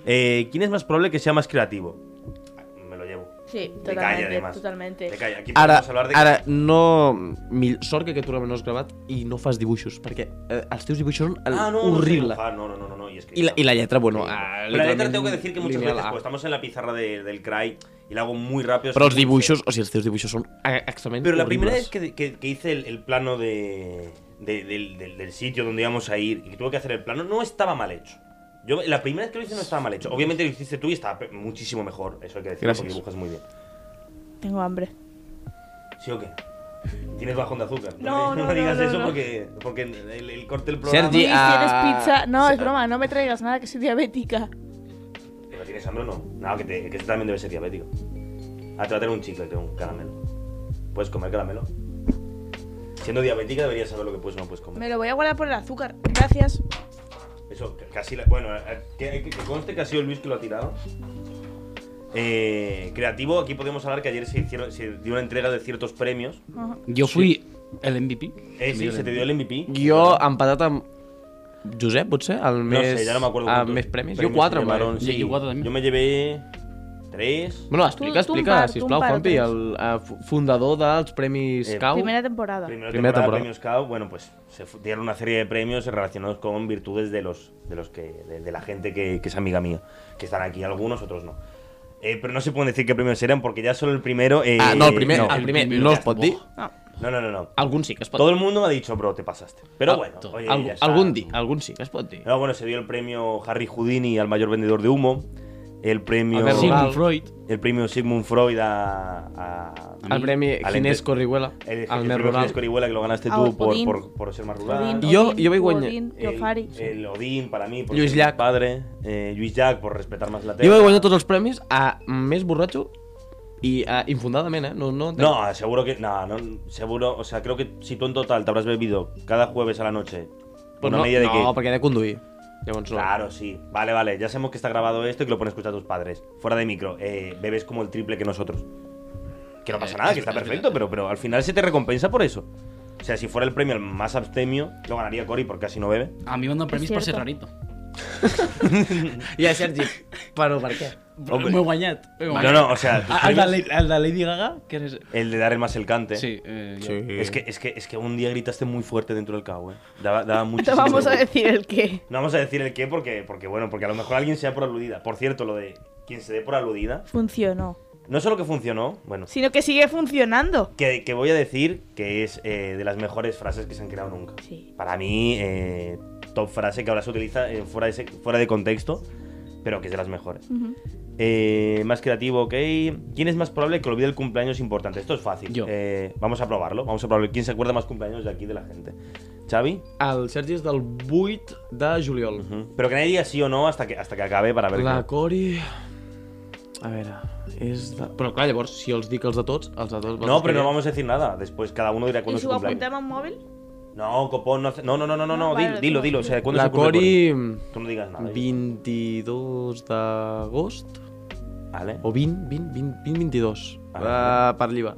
Eh, ¿Quién es más probable que sea más creativo? Me lo llevo.
Sí,
Me calla,
totalmente,
además.
totalmente.
Me calla. Aquí
Ara,
podemos hablar de
ara, no... Mil... Sort que aquest programa no has gravat i no fas dibuixos, perquè eh, els teus dibuixos són
Ah, no, no,
horrible.
dibujar, No, no, no, no, no, y escribir
I, la, I la lletra, bueno...
Sí.
ah,
Pero la letra
literalment
tengo que decir que muchas
lineal ah.
veces
A.
pues, estamos en la pizarra de- del Cry y la hago muy rápido.
Però els
sin
dibuixos, o sigui, els teus dibuixos són eh, extremament
Pero la
horribles.
primera vez que, que- que hice el, el plano de, de- del, del- del sitio donde íbamos a ir y que tuve que hacer el plano, no estaba mal hecho. Yo, la primera vez que lo hice no estaba mal hecho. Obviamente lo hiciste tú y estaba pe- muchísimo mejor. Eso hay que decir,
Gracias.
porque dibujas muy bien.
Tengo hambre.
¿Sí o qué? Tienes bajón de azúcar.
No, no, no,
digas
no,
eso
no.
porque, porque el, el corte del programa.
Sergi,
Y
ah,
si eres pizza. No, es broma, no me traigas nada que soy diabética.
¿Pero tienes hambre o no? No, que, te, que tú también debes ser diabético. Ah, te va a tener un chicle, tengo un caramelo. ¿Puedes comer caramelo? Siendo diabética deberías saber lo que puedes o no puedes comer.
Me lo voy a guardar por el azúcar. Gracias.
Eso, c- casi la- Bueno, eh, que, que- que conste que ha sido Luis que lo ha tirado. Eh, creativo, aquí podemos hablar que ayer se, hicieron, se dio una entrega de ciertos premios.
Ajá.
Yo fui el MVP.
Eh, sí, se te dio el MVP.
Jo empatat amb... Josep, potser? El
No
més,
sé, ya no me acuerdo.
Amb
cuántos
més premis. Jo
se
4, em
llevaron,
va
sí. Yo cuatro también.
Yo me llevé tres.
Bueno,
Tu-
explica,
tu un
explica,
par, tu
sisplau,
un par,
Juanpi,
tres.
el eh, fu- fundador dels Premis
Eh,
Cau.
Primera temporada.
Primera,
Primera
temporada,
temporada.
premios CAO, bueno, pues se fu- dieron una serie de premios relacionados con virtudes de los de los que de, de la gente que, que es amiga mía, que están aquí algunos, otros no. Eh, pero no se pueden decir qué premios eran porque ya solo el primero. eh,
Ah, no, el primer,
no.
el primer
primero.
no es pot dir.
No.
No, no, no, no.
Algun sí que es pot
Todo el mundo me ha dicho, bro, te pasaste. Pero
Al-
bueno,
todo.
oye,
Algú,
ya está.
algun dia, algun sí que es pot dir.
No, bueno, se dio el premio Harry Houdini al mayor vendedor de humo, el premio
Albert
Sigmund
Rural.
Freud.
el premio Sigmund Freud a, mm, a-
El premi
Al
Ginés
ente-
Corriguela,
el, el
el més
premio Ginés
rural.
Corihuela que lo ganaste
Ah,
tú por,
Odín.
por- por ser más rural.
Odín,
Jo-
Odín,
jo vaig guanyar.
Odín,
el,
Jofari.
el Odín para mí, por
Lluís
ser mi
Llach.
padre, eh, Lluís Jack por respetar más la tele.
Jo vaig guanyar tots els premis a més borratxo i a infundadament, eh? No, no, entenc.
No, seguro que. No, no, seguro. O sea, creo que si tú en total te habrás bebido cada jueves a la noche
Pues
una
no,
media de
no,
que.
perquè he de conduir. Llavors no.
Claro, sí. Vale, vale. Ya sabemos que está grabado esto y que lo pones a escuchar a tus padres. Fuera de micro. Eh, bebes como el triple que nosotros. Que no pasa nada, que está perfecto, pero, pero al final se te recompensa por eso. O sea, si fuera el premio el más abstemio, lo ganaría Cory porque casi no bebe.
A mí me han dado premis
Es
per ser
cierto.
rarito.
I a Sergi, però per què?
Hombre.
M'ho he guanyat. m'ho he
No,
guanyat.
no, o sea, tus
Ah, El de,
premios-
la- el de Lady Gaga, que eres...
el de dar el más el cante.
Sí, eh, ya.
Es que, es, que, es que un día gritaste muy fuerte dentro del cabo, ¿eh? Daba, daba
Te
muchísimo
vamos a
orgullo.
decir el qué.
No vamos a decir el qué porque, porque, bueno, porque a lo mejor alguien se da por aludida. Por cierto, lo de quien se dé por aludida,
Funcionó.
no solo que funcionó, bueno,
Sino que sigue funcionando.
que, que voy a decir que es eh, de las mejores frases que se han creado nunca.
Sí.
Para mí, eh, top frase que ahora se utiliza eh, fuera, de, se- fuera de contexto, pero que es de las mejores.
Ujú.
Eh, más creativo, ok. ¿Quién es más probable que olvide el cumpleaños importante? Esto es fácil.
Yo.
Eh, vamos a probarlo. Vamos a probarlo. ¿Quién se acuerda más cumpleaños de aquí de la gente? ¿Xavi?
El Sergi és del 8 de juliol.
Ujú. Pero que nadie diga sí o no hasta que, hasta que acabe para ver.
La
qué-
Cori... A veure, és de... Però clar, llavors, si els dic els de tots, els de tots... vols
No, pero no
escriure?
vamos a decir nada. Después cada uno dirá
¿Y
cuándo es
si
su
lo
cumpleaños.
apuntamos a un móvil?
No, copón, no hace- No, no, no, no, no,
No,
no.
Ah, vale,
Dilo, dilo,
lo tengo
dilo. O sea, ¿cuándo
La
se cumple
Cori... mm,
Tú no digas nada.
22 d'agost
Vale.
o 20, 20, 20, 20 22
Ah,
ah, per allí va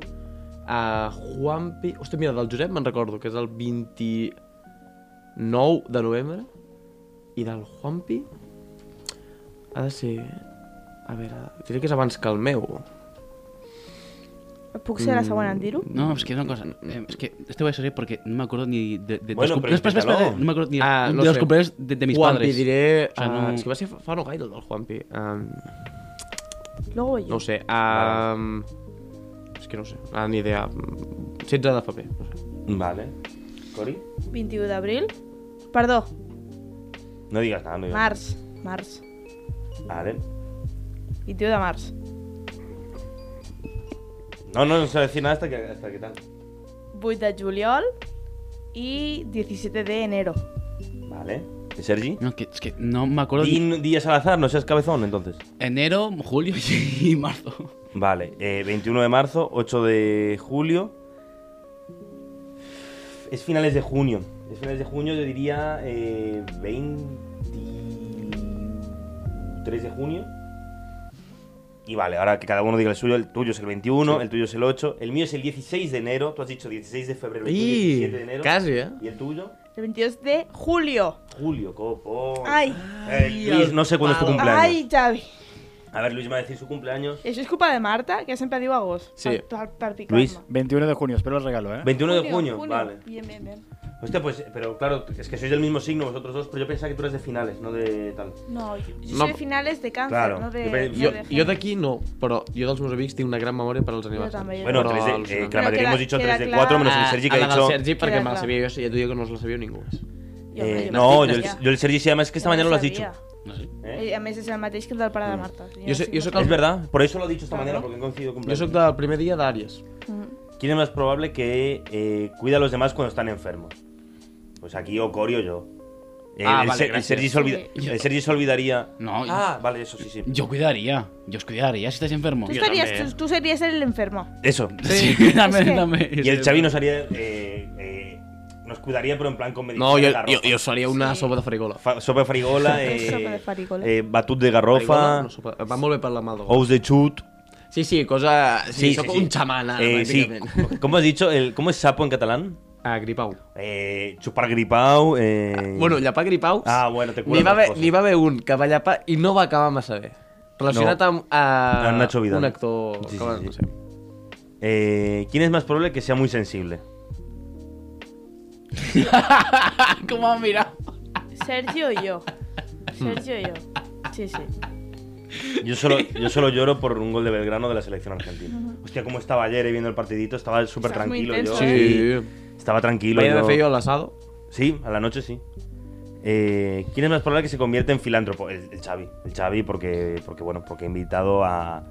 a Juanpi hòstia mira del Josep me'n recordo que és el 29 de novembre i del Juanpi ha de ser a veure diré que és abans que el meu
¿Puc ser Pues la següent en dir-ho?
No, es que una cosa. eh, es que este voy a salir porque no me acuerdo ni de, de- de
Bueno,
los
pero
cumpleaños. Espera, espera, espera,
inténtalo.
no me acuerdo ni
Ah,
de,
no
de los
sé.
cumpleaños de, de mis
Juanpi
padres.
diré
O sea,
ah,
no-
és que va ser fa, fa no gaire el del Juanpi um,
Luego yo.
no ho sé um, és que no ho sé ah, ni idea 16 de febrer no sé.
Vale. ¿Cori?
21 d'abril. Perdó,
No digas nada. No digas nada.
març. Març.
Vale.
21 de març.
No, no, no se va a decir nada hasta que, hasta que tal.
8 de juliol i 17 de enero.
Vale. ¿Y Sergi?
No, que, es que no me acuerdo. ni-
Din días al azar, no seas cabezón entonces.
Enero, julio y marzo.
Vale, eh, 21 de marzo, 8 de julio. Es finales de junio. Es finales de junio, yo diría eh, 23 de junio. Y vale, ahora que cada uno diga el suyo, el tuyo es el 21, el tuyo es el 8, el mío es el 16 de enero, tú has dicho 16 de febrero, el tuyo
I,
17 de enero.
quasi, eh?
¿Y el tuyo?
El 22 de julio.
Julio, copo. Eh,
Ai.
Luis, no sé cuándo es tu cumpleaños.
Ai, Xavi.
A ver, Luis me va a decir su cumpleaños.
Això és culpa de Marta, que sempre diu agost.
Sí.
Per, per, per picar-me.
Luis.
21 de junio, espero el regalo, ¿eh?
21 de junio, vale.
Bien, bien, bien.
Hostia, pues, pero claro, es que sois del mismo signo vosotros dos, pero yo pensaba que tú eres de finales, no de tal.
No, jo, jo
No,
soy de finales de càncer,
claro.
no de...
Jo pe-
no
Jo,
de
jo
género.
d'aquí no, però jo dels meus amics tinc una gran memòria per als aniversaris.
també, jo.
Bueno,
Però
tres de, eh,
al-
que la
Pero
mayoría
queda-
hemos dicho
queda
3 de
clara-
4, menos el
Ah,
Sergi que
a
ha
la del
dicho.
Sergi perquè
Queda
me la
clar.
sabia jo, sí, ja t'ho dic que no se la sabia ningú.
Jo,
Eh,
jo
no,
me
yo
las
el,
sabía.
yo el Sergi sí, además es que esta
Yo me
mañana lo has
las
dicho. Mm.
sabía.
No sé.
¿Eh?
Eh, A més, és el mateix que el del pare de Marta.
Jo sé- jo sé que
Es
el-
verdad, por eso lo he dicho esta mañana, porque he coincidido
Jo
cumpleaños.
sóc del primer dia d'Àries.
Mm.
¿Quién es más probable que eh, cuida a los demás cuando están enfermos? Pues aquí o Corio yo. El,
Ah,
el
vale,
Ser- el
gracias.
Sergi se olvida-
Sí.
el Sergi se olvidaría.
No,
Ah, vale, eso sí, sí.
yo cuidaría. Yo os cuidaría si estáis enfermos.
Tú, estarías, tú, tú serías el enfermo.
Eso.
Sí, dame,
Es que-
dame.
Y el Xavi nos haría. eh, eh, nos cuidaría, pero en plan con medicina.
No, jo,
de garrofa.
jo, jo seria una
Sí.
sopa de farigola.
Fa- sopa de farigola,
Què és
eh,
sopa de farigola?
eh, batut de garrofa,
no, sopa... Va molt bé per la mà d'Ogo.
ous de xut.
Sí, sí, cosa... Sí, sí sóc un xaman, ara,
Eh, sí,
pràcticament.
¿Cómo has dicho? El, ¿Cómo es sapo en catalán?
Ah, gripau.
Eh, chupar gripau. Eh...
Bueno, llapar gripaus...
Ah, bueno, te cura
N'hi va,
les
haver,
coses.
n'hi va haver un que va llapar i no va acabar massa bé. Relacionat
No.
amb eh,
Amb Nacho Vidal.
un actor...
Sí, sí,
que va-
sí.
No sé.
Eh, ¿Quién es más probable que sea muy sensible?
¿Cómo has mirado?
Sergio y yo. Sergio y yo. Sí, sí.
Yo solo, yo solo lloro por un gol de Belgrano de la selección argentina. Hostia, cómo estaba ayer eh, viendo el partidito, estaba súper
Estás muy
tranquilo yo.
intenso, ¿eh?
Sí.
Estaba tranquilo
Vaig haver
yo.
fer jo l'assado.
Sí, a la noche sí. Eh, ¿Quién es más probable que se convierta en filántropo? El, el Xavi. El Xavi porque, porque, bueno, porque he invitado a,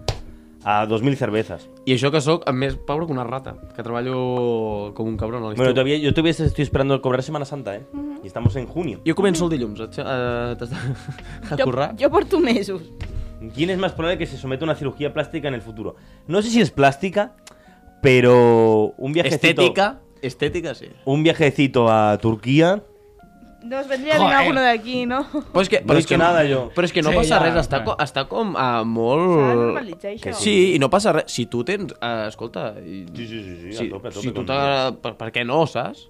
a 2.000 cervezas.
I això que sóc més pobre que una rata, que treballo com un cabron a l'estiu.
Bueno, todavía, yo todavía estoy esperando cobrar Semana Santa, ¿eh? Y estamos en junio.
Jo començo el dilluns, a, a, a, a
Jo,
currar.
jo porto mesos.
¿Quién es más probable que se someta a una cirugía plástica en el futuro? No sé si es plástica, pero un viajecito...
Estètica, estètica sí.
Un viajecito a Turquía
Nos vendría bien
Joder.
alguno de aquí, ¿no?
Però és que,
No he dit nada, jo.
Però és que no
Sí,
sí,
ja,
passa ja, res, està,
ja.
co, està com uh,
S'ha de
molt...
normalitzar això.
que
Sí, i no passa res. Si tu tens... Uh, escolta... i-
Sí, sí, sí, sí, a
si,
tope, a tope,
si tu
com
t'agrada... Per, per què no, saps?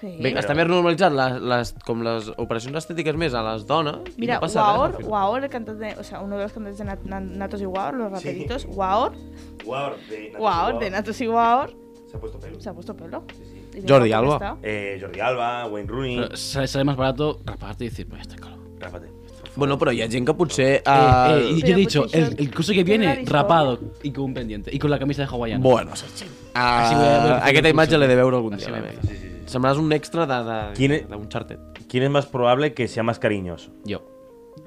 Sí.
Bé, està més normalitzat les, les, com les operacions estètiques més a les dones. i
Mira,
no passa
Waor,
res, al final.
Waor, el cantante, de- o sea, uno de los cantantes de Nat- Nat- Natos y Waor, los raperitos, Waor,
Guau, de Nacho
Waor,
Guau.
de Natos y Waor,
Se ha puesto pelo.
se ha puesto pelo.
sí.
Y de guapo
Jordi
que
Alba.
está.
Eh, Jordi Alba, Wayne Rooney.
Pero sale, sale más barato raparte y decir, pues está calvo.
Rápate.
Bueno, però hi ha gent que potser... Uh,
Eh, eh, y yo
Pero
he dicho,
pues,
el,
yo-
el curso que
yo la
viene,
disco-
rapado y con un pendiente. Y con la camisa de hawaiana.
Bueno, saps? Uh, aquesta imatge l'he de veure algun dia. la veritat. Semblaràs un extra de, de,
Quin- e-
d'un chartet.
¿Quién es más probable que sea más cariñoso?
Yo.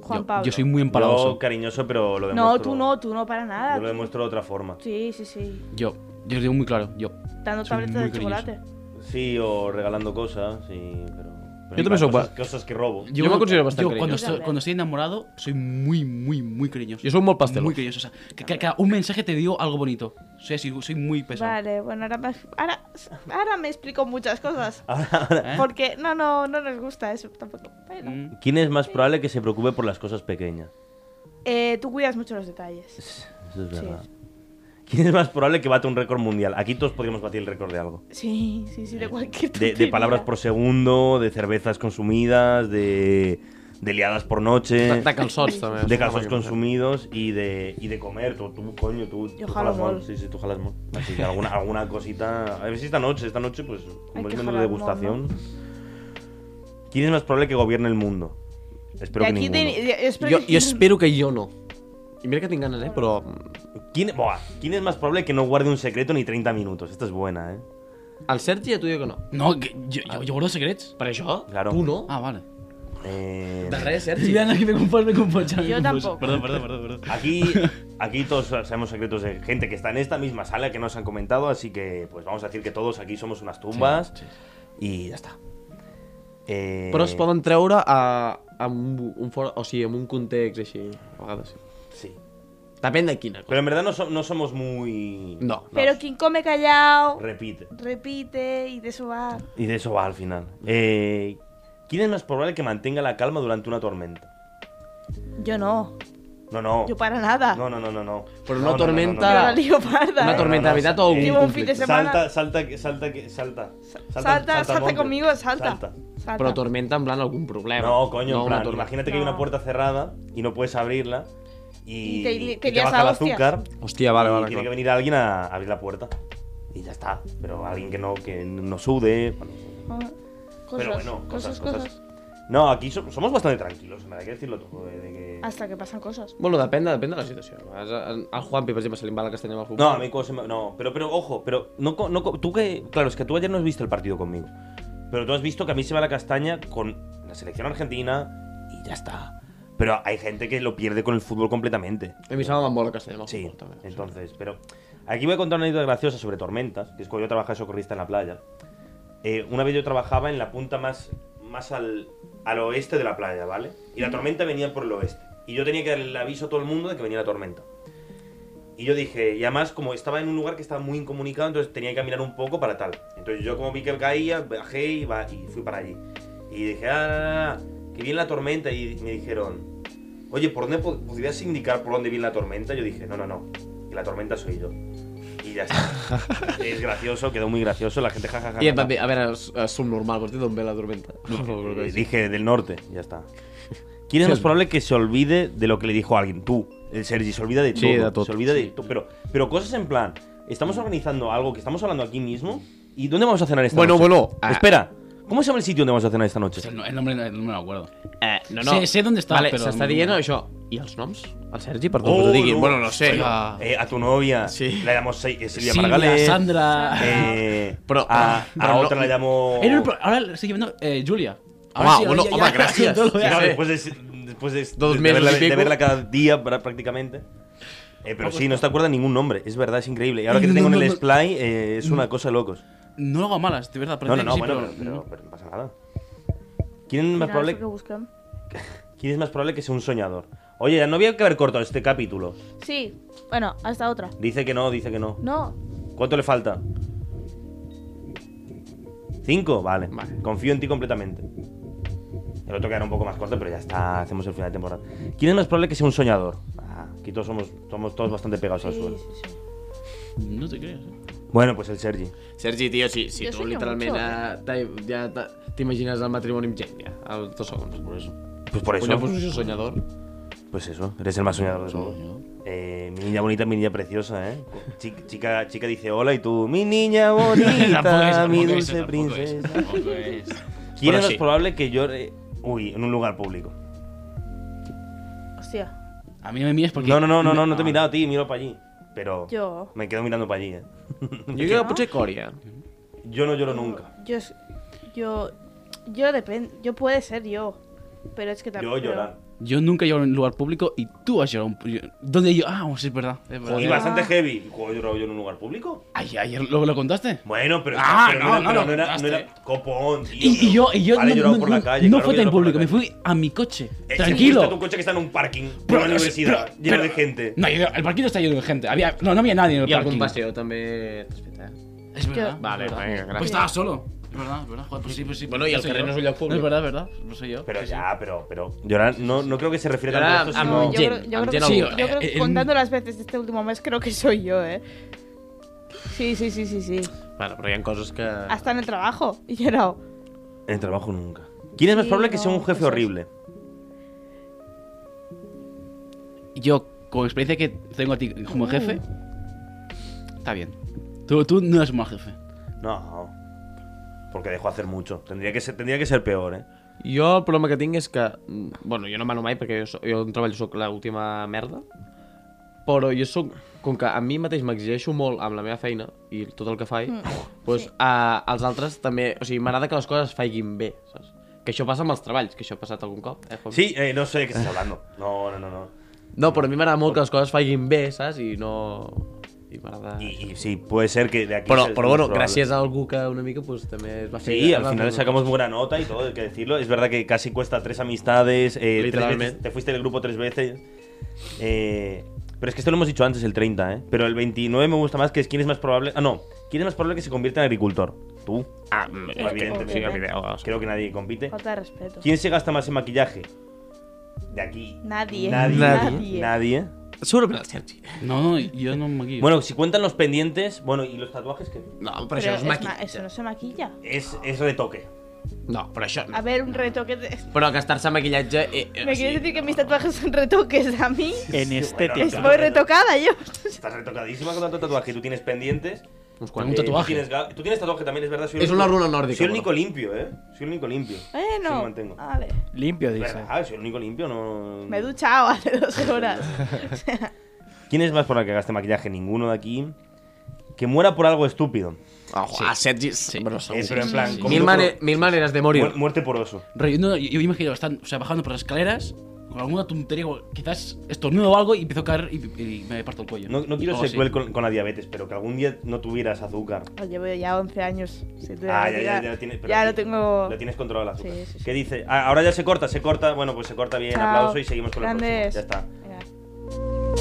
Juan
yo,
Pablo.
Yo soy muy
Yo
empalagoso.
cariñoso, pero lo demuestro.
No, tú no, tú no, para nada.
Yo lo demuestro de otra forma.
Sí, sí, sí.
Yo. Yo os digo muy claro, yo.
Dando
Soy
tabletas
muy
de chocolate.
Sí, o regalando cosas, sí, pero. pero
Yo también soy
cosas,
guapo.
cosas que robo.
Yo me considero bastante
yo cuando
cariñoso.
estoy, cuando estoy enamorado, soy muy, muy, muy cariñoso.
Jo soc molt pastelós.
Muy cariñoso. O sea, que, que- que un mensaje te digo algo bonito. Soy así, soy muy pesado.
Vale, bueno, ahora me, ahora, ahora me explico muchas cosas.
¿eh?
Porque no, no, no nos gusta eso tampoco. Bueno.
Mm.
¿Quién es más probable que se preocupe por las cosas pequeñas?
Eh, tú cuidas mucho los detalles.
Eso es
Sí.
verdad. ¿Quién es más probable que bate un récord mundial? Aquí todos podríamos batir el récord de algo.
Sí, sí, sí, de cualquier
Eh, De, de
tontería.
palabras por segundo, de cervezas consumidas, de, de liadas por noche,
De, de calçots, també.
Eh, de calzones consumidos y de, y de comer. Tú, tú, coño, tú,
Yo
tú
jalo
jalas mol.
mol.
Sí, sí, tú jalas mol. Así que alguna, alguna cosita... A ver si esta noche, esta noche, pues,
Hay
como
que
es menú de
jalar mol,
degustación... ¿Quién es más probable que gobierne el mundo? Espero
De
que
aquí
ninguno.
de, de- espero
Jo,
que-
jo espero que jo no. I mira que tinc ganes, eh? Però...
¿Quién, buah, ¿Quién es más probable que no guarde un secreto ni 30 minutos? Esta es buena, ¿eh?
El Sergi ja t'ho diu que no.
No, que- yo, yo, yo guardo secrets.
Per això?
Claro.
Tu no?
Ah, vale.
Eh,
De res, Sergi.
Mira, que me confundo, me confundo, me confundo.
tampoco.
Perdón, perdón, perdón, perdón.
Aquí, aquí todos sabemos secretos de gente que está en esta misma sala que nos han comentado, así que pues vamos a decir que todos aquí somos unas tumbas
Sí, sí.
y ya está. Eh,
Però es poden treure a, a un, un for... o sigui, en un context així. A vegades sí.
Sí.
Depèn de quina
Pero
cosa.
en verdad no, so- no somos muy...
No.
Pero quien come callado,
Repite.
repite y de eso va.
Y de eso va al final. Eh, ¿Quién es más probable que mantenga la calma durante una tormenta?
Yo no,
No, no.
yo para nada.
No, no, no, no, no.
Pero
No, no, no, no,
una tormenta-
Yo
no, no.
la lío parda,
Una
¿eh?
tormenta de veritat o un
Llevo un fin de
conflicte.
semana.
Salta, salta, que- salta, que- salta.
Salta, salta,
al monte.
conmigo, salta.
Salta.
Salta.
Però tormenta en plan algun problema.
No, coño, en
Eh, una
plan,
tormenta.
imagínate que hay
No.
una puerta cerrada y no puedes abrirla y,
Y te-
y
te lías
baja
a
el
hostias.
azúcar
Hòstia, vale,
y
vale.
tiene que
clar.
venir alguien a abrir la puerta y ya está. Pero alguien que no, que no sude. bueno,
Ah, Cosas,
pero bueno,
cosas,
cosas,
cosas,
cosas. No, aquí so- somos bastante tranquilos, en verdad, hay que decirlo todo. eh, de- de que-
Hasta que pasan cosas.
Bueno, depèn de, depèn de la situació. A vegades, Al Juanpi, per exemple, se li va la castanya amb el futbol.
No, a mí como se me- No, pero, pero ojo, pero no, co- no co- tú que... Claro, es que tú ayer no has visto el partido conmigo. Pero tú has visto que a mí se me va la castaña con la selección argentina y ya está. Pero hay gente que lo pierde con el fútbol completamente.
A mi se m'ha molt la castanya amb el
Sí,
futbol, també. o sigui.
entonces, pero aquí voy a contar una anécdota graciosa sobre tormentas, que es cuando yo trabajaba de socorrista en la playa. Eh, una vez yo trabajaba en la punta más, más al, al oeste de la playa, ¿vale? Y la tormenta venía por el oeste. Y yo tenía que darle el aviso a todo el mundo de que venía la tormenta. Y yo dije, y además como estaba en un lugar que estaba muy incomunicado, entonces tenía que caminar un poco para tal. Entonces yo como vi que él caía, bajé y, va- y fui para allí. Y dije, ah, que viene la tormenta. Y me dijeron, oye, ¿por dónde po- podrías indicar por dónde viene la tormenta? Yo dije, no, no, no, que la tormenta soy yo. Y ya está. es gracioso, quedó muy gracioso, la gente jajaja.
I en plan, a veure, és, és subnormal, vols dir d'on ve la tormenta?
Eh, dije, del norte, ya está. ¿Quién es más probable que se olvide de lo que le dijo alguien? Tú, el Sergi, se olvida de todo.
Sí, de todo,
Se olvida de todo. Pero, pero cosas en plan, estamos organizando algo que estamos hablando aquí mismo. ¿Y dónde vamos a cenar esta
Bueno,
noche?
bueno, ah.
Espera, ¿cómo se llama el sitio donde vamos a cenar esta noche?
O sea, el no- el nombre no no me lo acuerdo.
Eh, no,
Sé- sé dónde està,
vale,
però-
S'està dient això. I els noms? El Sergi, perdó,
Oh,
que t'ho diguin.
no.
Bueno, no sé.
Oiga.
Eh, a tu novia.
Sí.
La llamó Se- eh, Silvia
Silvia,
Margales.
Sandra.
eh,
Pero-
a, a
pero no-
otra la llamó. Ah,
Era el pro- ahora le estoy llamando eh, Julia.
Home, bueno, home, gràcies.
todo lo de-
Ja
Claro,
sé.
después de, después de,
Dos
de
meses
verla,
y pico.
de verla cada día pra- prácticamente. Eh, pero sí, no se te acuerda ningún nombre, es verdad, es increíble. Y ahora que te
No,
tengo
no,
en el
no.
Splay, eh, es una cosa de locos.
No lo hago a malas, de verdad.
No, no,
parece que
no,
sí,
bueno, pero, pero- pero no pasa nada. ¿Quién es, más
Mira,
probable,
eso que buscan.
¿Quién es más probable que sea un soñador? Oye, ya no había que haber cortado este capítulo.
Sí, bueno, hasta otra.
Dice que no, dice que no.
No,
¿Cuánto le falta? ¿Cinco? Vale.
Vale.
Confío en ti completamente. El otro quedará un poco más corto, pero ya está, hacemos el final de temporada. ¿Quién es más probable que sea un soñador? Ah, aquí todos somos, somos todos bastante pegados al suelo.
No te creas. eh.
Bueno, pues el Sergi.
Sergi, tio, si, si
Jo
tu
soño
literalment
mucho.
eh, t'ha- ja t'ha- t'imagines el matrimoni amb gent, ja, als dos segons. Por eso.
Pues por
Una
eso.
posició soñador.
Pues eso, eres el más soñador del mundo. Eh, mi niña bonita, mi niña preciosa, ¿eh? Chi- Chica, chica dice hola y tú, mi niña
Tampoco es-
bonita, mi
tampoco es-
dulce
tampoco es-
princesa.
tampoco es.
¿Quién
Bueno,
es más
sí.
probable que llore, uy, en un lugar público?
Hostia,
A mí me mías porque.
No, no, no, no, no, no
Ah.
te he mirado a ti, miro para allí. Pero
yo.
me quedo mirando para allí, ¿eh?
Jo crec que potser Corea.
Yo no lloro nunca.
Yo es- Yo. Yo depende. Yo puede ser yo. Pero es que
Yo
también.
llorar.
Yo nunca he llorado en un lugar público y tú has llorado. en un- ¿Dónde yo? Ah, sí, es verdad. es verdad.
Y
Ah.
bastante heavy. ¿Cómo he llorado yo en un lugar público?
Ay, ayer lo, lo contaste.
Bueno, pero,
Ah,
pero
no,
era-
no
pero
lo
no era, no
contaste.
era copón, tío.
Y, y yo, y yo
Vale, he
no,
llorado
no-
por la
no-
calle.
no
claro
fue
que he llorado por la
tan público, me
calle.
fui a mi coche.
Eh,
tranquilo.
Está tu coche que está en un parking de una
Pero-
universidad
pero-
lleno de
pero-
gente.
No, yo- el parquillo está lleno de gente. Había, no, no había nadie en el
I algun
parking.
passeo també t'has fet, eh?
Es verdad.
Yo-
Vale,
es verdad.
venga, gracias.
Pues estaba solo. Es verdad, es verdad. Joder, pues sí, pues sí.
Bueno, y el
soy
carrer
yo.
no es un lloc público.
Es verdad, es verdad. No soy yo.
Pero
Sí, sí.
ya, pero, pero. Llorar, no, no creo que se refiere
Llorar
tanto a esto,
a
sino.
No,
mi-
yo
Jen,
creo, yo
amb
creo que,
Jen
yo
Alonso.
creo que
Eh, eh,
contando
en-
las veces de este último mes creo que soy yo, ¿eh? Sí, sí, sí, sí, sí.
Bueno, però hi ha coses que...
Hasta en el trabajo. Y llorado.
En el trabajo nunca. ¿Quién es más
Sí,
probable que sea
no,
un jefe
eso es.
horrible?
Yo, con experiencia que tengo a ti como jefe, está bien. Oh. Tú, tú no eres un mal jefe.
No. Porque dejó hacer mucho. Tendría que ser, tendría que ser peor, ¿eh?
Jo el problema que tinc és que... mm, Bueno, jo no mano mai perquè jo, so- jo en treball sóc l'última merda, però jo sóc... Com que a mi mateix m'exigeixo molt amb la meva feina i tot el que faig, mm, doncs, sí. a, als altres també... O sigui, m'agrada que les coses es faiguin bé, saps? Que això passa amb els treballs, que això ha passat algun cop. Eh, Juan?
Sí, eh, no sé de qué estás hablando. No, no, no. no.
No, però a mi m'agrada molt que les coses es faiguin bé, saps? I no... I m'agrada...
Y, y sí, puede ser que de aquí.
Però,
sea-
però bueno,
probable.
gràcies a algú que una mica pues, també es va fer...
Sí,
es
al
va
final
fer-
sacamos buena nota y todo, hay que decirlo. Es verdad que casi cuesta tres amistades, eh, tres
Literalmente.
veces- te fuiste del grupo tres veces. Eh, pero es que esto lo hemos dicho antes, el 30, ¿eh? Pero el 29 me gusta más, que es quién es más probable... Ah, no, quién es más probable que se convierta en agricultor. Tú.
Ah, mm, és que-
Evidentemente.
sí, evidentment.
Creo que nadie compite.
Falta de respeto.
¿Quién se gasta más en maquillaje? De aquí.
Nadie.
Nadie.
Nadie.
Nadie.
Segurament el Sergi.
No, no, yo no me guío.
Bueno, si cuentan los pendientes, bueno, ¿y los tatuajes que
No,
Pero
però, això és,
es ma-
maquillatge.
eso no se maquilla.
Es, es retoque.
No, però això no.
A ver, un retoque. de-
Però gastar-se maquillatge... Eh, eh,
¿Me quieres decir que mis tatuajes son retoques a mí?
En este estética.
bueno,
Voy retocada yo.
Estás retocadísima con tanto tatuaje y tú tienes pendientes.
Uns
Un
quants.
Eh,
tatuaje.
Tú tienes, ga- tú tienes tatuaje también, es verdad. Soy el
Es
único-
una runa nórdica, Ah.
Soy el
bro.
único limpio, ¿eh? Soy el único limpio. Sí, me
Bueno,
mantengo. Mm.
vale.
Limpio, dice.
¿Verdad? Soy el único limpio, no.
Me he duchado hace dos horas.
¿Quién es más por la que gaste maquillaje? Ninguno de aquí. Que muera por algo estúpido.
Ojo, a Sergi... Sí. Bueno, segur.
Eh, pero en plan, como
Mil,
tú-
mane mil maneres de morir.
Mu- Muerte por oso.
Rollo, no, yo, yo me imagino, están o sea, bajando por las escaleras con alguna tontería, o quizás estornudo o algo y empiezo a caer y, y me parto el cuello.
No, no quiero
Algo
ser
así.
cruel con, con la diabetes, pero que algún día no tuvieras azúcar.
Pues Llevo ya 11 años. sin tener
Ah, ya, ya,
vida.
ya, tiene- pero
Ya
sí,
lo tengo.
Lo tienes controlado el azúcar.
Sí, sí, sí.
¿Qué dice? Ah, ahora ya se corta, se corta. Bueno, pues se corta bien.
Chao.
Aplauso y seguimos con
Grandes.
la próxima. Ya está.
Venga.